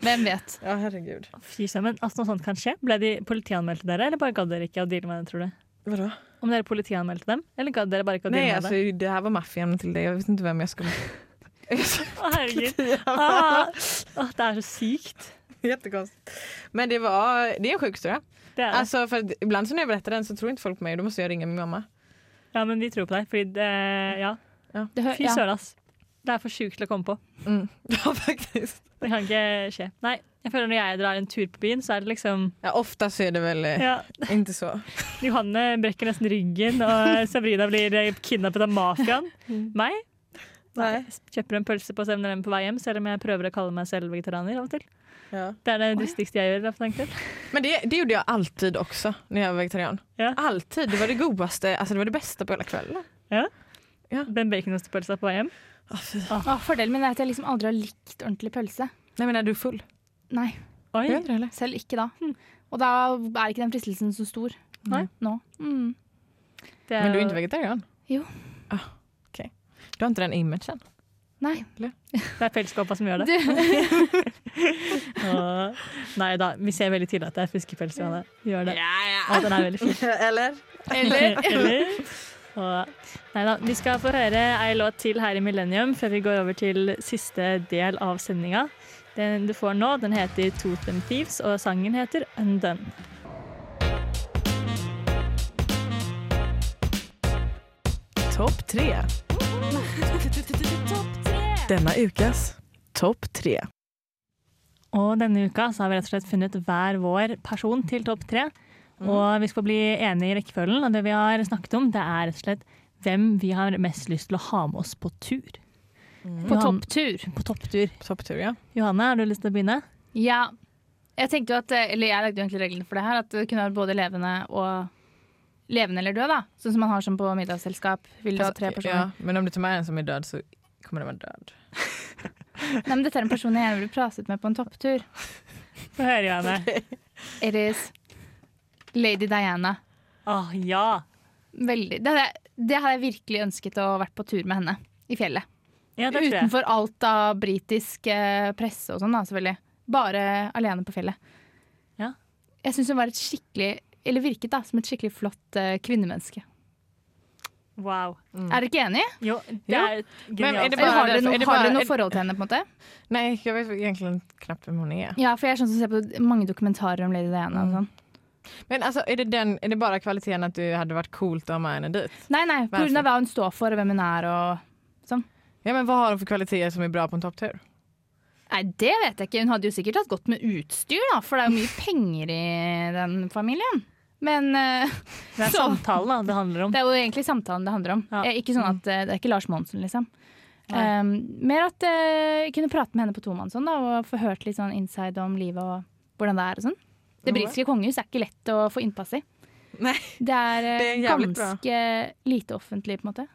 Speaker 3: Hvem vet?
Speaker 2: ja herregud.
Speaker 1: Fy søren, men at noe sånt kan skje? Ble de politianmeldte dere, eller bare gadd dere ikke å deale med det, tror du?
Speaker 2: Vadå?
Speaker 1: Om dere politianmeldte dem, eller gadd dere bare ikke å
Speaker 2: Nej,
Speaker 3: altså,
Speaker 1: deale med det?
Speaker 2: alltså, det här var maffian till dig. Jag visste inte vem jag *laughs* skulle...
Speaker 1: Å,
Speaker 2: *laughs*
Speaker 1: herregud. Ah, ah, det er så sykt.
Speaker 2: Jättekonstigt. Men det var... Det är en sjuk historia.
Speaker 1: Det er det.
Speaker 2: Alltså, för att ibland så när jag berättar den så tror inte folk på mig. Då måste jag ringa min mamma.
Speaker 1: Ja, men vi tror på deg, fordi det Ja,
Speaker 3: Det hø-
Speaker 1: fy
Speaker 3: ja.
Speaker 1: søren, ass. Det er for sjukt til å komme på.
Speaker 2: Mm. *laughs* Ja, faktiskt.
Speaker 1: Det kan ikke skje. Nei, jeg føler når jeg drar en tur på byen, så er det liksom
Speaker 2: Ja, ofta så är det väl eh,
Speaker 1: ja,
Speaker 2: inte så.
Speaker 1: Johanne brekker nesten ryggen, og Sabrina blir eh, kidnappet av mafiaen. Meg?
Speaker 2: Nej.
Speaker 1: Kjøper en pølse på 7-Eleven på vei hjem, selv om jeg prøver å kalle meg selv vegetarianer av og til.
Speaker 2: Ja.
Speaker 1: Det er det dristigste jeg gjør. i hvert fall, egentlig.
Speaker 2: Men det, det gjorde jag alltid också när jag var vegetarian.
Speaker 1: Ja.
Speaker 2: Alltid. Det var det godaste, alltså det var det bästa på hela kvällen.
Speaker 1: Den baconostepølsa på vei hjem. Ah.
Speaker 3: Å, Ah, fordelen min er at jeg liksom aldri har likt ordentlig pølse.
Speaker 2: Nej men är du full?
Speaker 3: Nei,
Speaker 1: Oi,
Speaker 2: Är det, eller?
Speaker 3: selv ikke da.
Speaker 1: Hm.
Speaker 3: Og da er ikke den fristelsen så stor
Speaker 2: Nei.
Speaker 3: nå. Mm.
Speaker 1: det
Speaker 2: Men du är
Speaker 1: jo-
Speaker 2: inte vegetarian?
Speaker 3: Jo.
Speaker 2: Ah, okej. Du har inte den imagen?
Speaker 3: Nei.
Speaker 1: Det er pelskåpa som gjør det.
Speaker 3: Du,
Speaker 1: *laughs* Åh. Nei da, vi ser veldig tydelig at det er fiskepels. Johanne. Vi Gjør det. Og den er veldig
Speaker 2: *laughs*
Speaker 1: fin.
Speaker 2: Eller?
Speaker 3: eller
Speaker 1: *laughs* Eller? Og, nei da, vi skal få høre ei låt til her i Millennium før vi går over til siste del av sendinga. Den du får nå, den heter Totem Thieves, og sangen heter Undone.
Speaker 2: Topp tre. Denna ukas topp tre.
Speaker 1: Og denne uka så har vi rett og slett funnet hver vår person til topp tre.
Speaker 2: Mhm.
Speaker 1: Og vi skal bli enige i rekkefølgen, og det vi har snakket om, det er rett og slett hvem vi har mest lyst til å ha med oss på tur.
Speaker 3: på topptur.
Speaker 1: På topptur.
Speaker 2: Topptur ja.
Speaker 1: Johanne, har du lyst til å begynne?
Speaker 3: Ja. Jeg tenkte jo at, eh, eller jeg lagde jo egentlig reglene for det her, at det kunne være både levende og levende eller død, da. Sånn som man har sånn på middagsselskap. Vil du ha tre personer?
Speaker 2: Ja, men om du tar med en som är död så kommer den vara död.
Speaker 3: Nei, men dette er en person jeg gjerne ville pratet med på en topptur.
Speaker 1: Få høre, Johanne.
Speaker 3: It is Lady Diana.
Speaker 1: Åh, Ah, ja.
Speaker 3: Veldig. Det hadde, jeg, det hadde jeg virkelig ønsket å vært på tur med henne i fjellet.
Speaker 1: ja det tror jeg.
Speaker 3: Utenfor alt av britisk eh, presse og sånn, da, selvfølgelig. Bare alene på fjellet.
Speaker 1: Ja.
Speaker 3: Jeg syns hun var et skikkelig Eller virket da, som et skikkelig flott eh, kvinnemenneske.
Speaker 1: Wow.
Speaker 3: Er dere ikke enig?
Speaker 1: Jo, det
Speaker 2: Jo.
Speaker 1: er et
Speaker 2: Men er
Speaker 1: genialt.
Speaker 2: det
Speaker 3: Eller
Speaker 2: bare
Speaker 3: har dere
Speaker 2: derfor-
Speaker 3: noe,
Speaker 2: er det
Speaker 3: har
Speaker 2: bare-
Speaker 3: dere noe
Speaker 2: er-
Speaker 3: forhold til henne? på en måte?
Speaker 2: Nej, jag vet egentligen knappt vem hon är.
Speaker 3: Ja, for jeg er sånn som ser på mange dokumentarer om Lady Diana. og sånn.
Speaker 2: Men alltså är det, den, är det bara kvaliteten att du hade varit coolt att ha med henne dit?
Speaker 3: Nei, nei, på
Speaker 2: Hvorfor?
Speaker 3: grunn av hva hun står for og hvem hun er og
Speaker 2: Ja men vad har hon för kvaliteter som är bra på en topptur?
Speaker 3: Nei, det vet jeg ikke. Hun hadde jo sikkert hatt godt med utstyr, da, for det er jo mye penger i den familien. Men eh,
Speaker 1: Det er
Speaker 3: Så-
Speaker 1: samtalen da, det handler om.
Speaker 3: det er jo egentlig samtalen det handler om.
Speaker 1: Ja.
Speaker 3: Eh, Ikke sånn
Speaker 2: Mm.
Speaker 3: at eh, Det er ikke Lars Monsen, liksom.
Speaker 1: Nei.
Speaker 3: Um, mer at eh, jeg kunne prate med henne på tomannshånd da, og få hørt litt sånn inside om livet og hvordan det er og sånn. Det britiske kongehuset er ikke lett å få innpass i.
Speaker 2: Nei.
Speaker 3: Det er, eh,
Speaker 2: Det er jævlig bra.
Speaker 3: ganske lite offentlig, på en måte.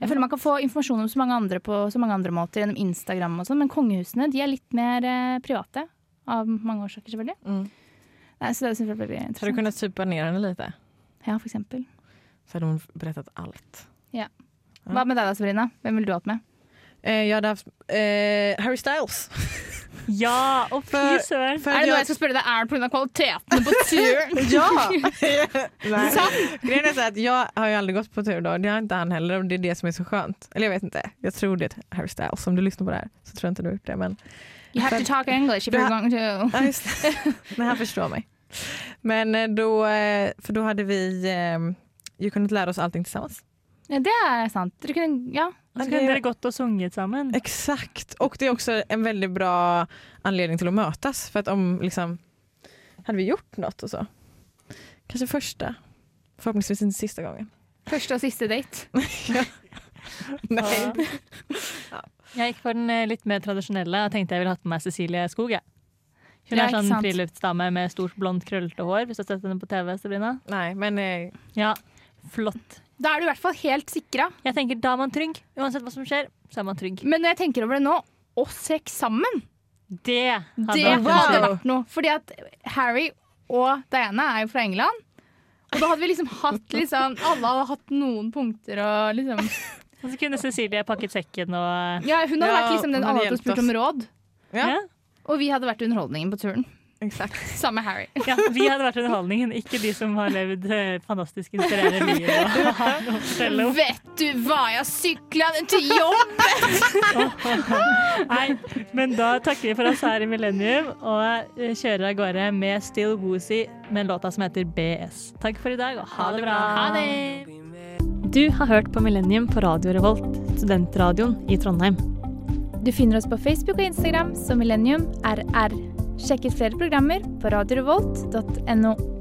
Speaker 3: Jeg føler Man kan få informasjon om så mange andre på så mange andre måter gjennom Instagram, og sånn, men kongehusene de er litt mer eh, private. Av mange årsaker, selvfølgelig.
Speaker 2: Mm.
Speaker 3: Nei, så det er selvfølgelig
Speaker 2: Har du
Speaker 3: interessant.
Speaker 2: kunnat supa ner henne lite?
Speaker 3: Ja, for eksempel.
Speaker 2: Så hade hon berättat allt. Ja.
Speaker 3: Hva med deg da, Sabrina? Hvem ville du hatt med?
Speaker 2: Eh, jag hade haft eh, Harry Styles. *laughs*
Speaker 1: Ja, og fy
Speaker 2: For-
Speaker 1: søren.
Speaker 2: För
Speaker 3: Er det noe
Speaker 2: jag-
Speaker 3: jeg skal spørre deg, er det pga. kvaliteten på turen?
Speaker 2: *laughs*
Speaker 3: Sånn.
Speaker 2: Ja!
Speaker 3: *laughs*
Speaker 2: Nej. Grejen är så att jag har ju aldrig gått på tur då. Det har inte han heller och det är det som är så skönt. Eller jag vet inte. Jag tror det är Harry Styles. Om du lyssnar på det här så tror jag inte du har gjort det. Men
Speaker 3: You have to talk English if
Speaker 2: Du
Speaker 3: you're
Speaker 2: har-
Speaker 3: going to
Speaker 2: Ja, just det. *laughs* Nej, han förstår mig. Men eh, då, eh, för då hade vi eh, ju kunnat lära oss allting tillsammans.
Speaker 3: ja, Det er sant. Dere kunne, ja.
Speaker 1: Og så kunne dere gått og sunget sammen.
Speaker 2: Exakt. Och det är också en väldigt bra anledning till att mötas. För att om liksom, hade vi gjort något och så. Kanske första. Förhoppningsvis inte sista gången.
Speaker 3: Første og siste date.
Speaker 2: Nej.
Speaker 1: Jeg gikk for den eh, litt mer tradisjonelle og tenkte jeg ville hatt med meg Cecilie Skog. jeg. Hun
Speaker 3: Ja,
Speaker 1: er
Speaker 3: ikke
Speaker 1: sånn
Speaker 3: sant.
Speaker 1: friluftsdame med stort, blondt, krøllete hår. Hvis du har sett henne på TV, Sabrina.
Speaker 2: Nej, men eh,
Speaker 1: Ja, flott.
Speaker 3: Da er du i hvert fall helt sikra.
Speaker 1: Jeg tenker Da er man trygg. Uansett hva som skjer, så er man trygg.
Speaker 3: Men når jeg tenker over det nå, oss seks sammen,
Speaker 1: Det hadde
Speaker 3: det
Speaker 1: vært en
Speaker 3: hadde
Speaker 1: tur.
Speaker 3: vært noe. Fordi at Harry og Diana er jo fra England. Og da hadde vi liksom hatt liksom Alle hadde hatt noen punkter å liksom
Speaker 1: Og så kunne Cecilie pakket sekken og
Speaker 3: Ja, hun hadde
Speaker 2: Ja,
Speaker 3: vært liksom den
Speaker 2: hun
Speaker 3: alle
Speaker 2: hadde
Speaker 3: hadde
Speaker 2: hjulpet
Speaker 3: spurt
Speaker 2: oss.
Speaker 3: om råd,
Speaker 2: Ja.
Speaker 1: ja.
Speaker 3: og vi hadde vært underholdningen på turen.
Speaker 2: Exakt.
Speaker 3: Samme Harry.
Speaker 1: Ja, vi hadde vært underholdningen, ikke de som har levd eh, fantastisk inspirerende
Speaker 3: *laughs*
Speaker 1: liv og *laughs* har noe å fortelle om.
Speaker 3: Vet du hva, jeg sykla den til jobb!
Speaker 1: Nei, men da takker vi for oss her i Millennium og eh, kjører av gårde med Still Woozy med låta som heter BS. Takk for i dag, og ha det bra.
Speaker 3: Ha det!
Speaker 1: Du har hørt på Millennium på Radio Revolt, studentradioen i Trondheim.
Speaker 9: Du finner oss på Facebook og Instagram som Millennium RR. Sjekk ut flere programmer på radiorevolt.no.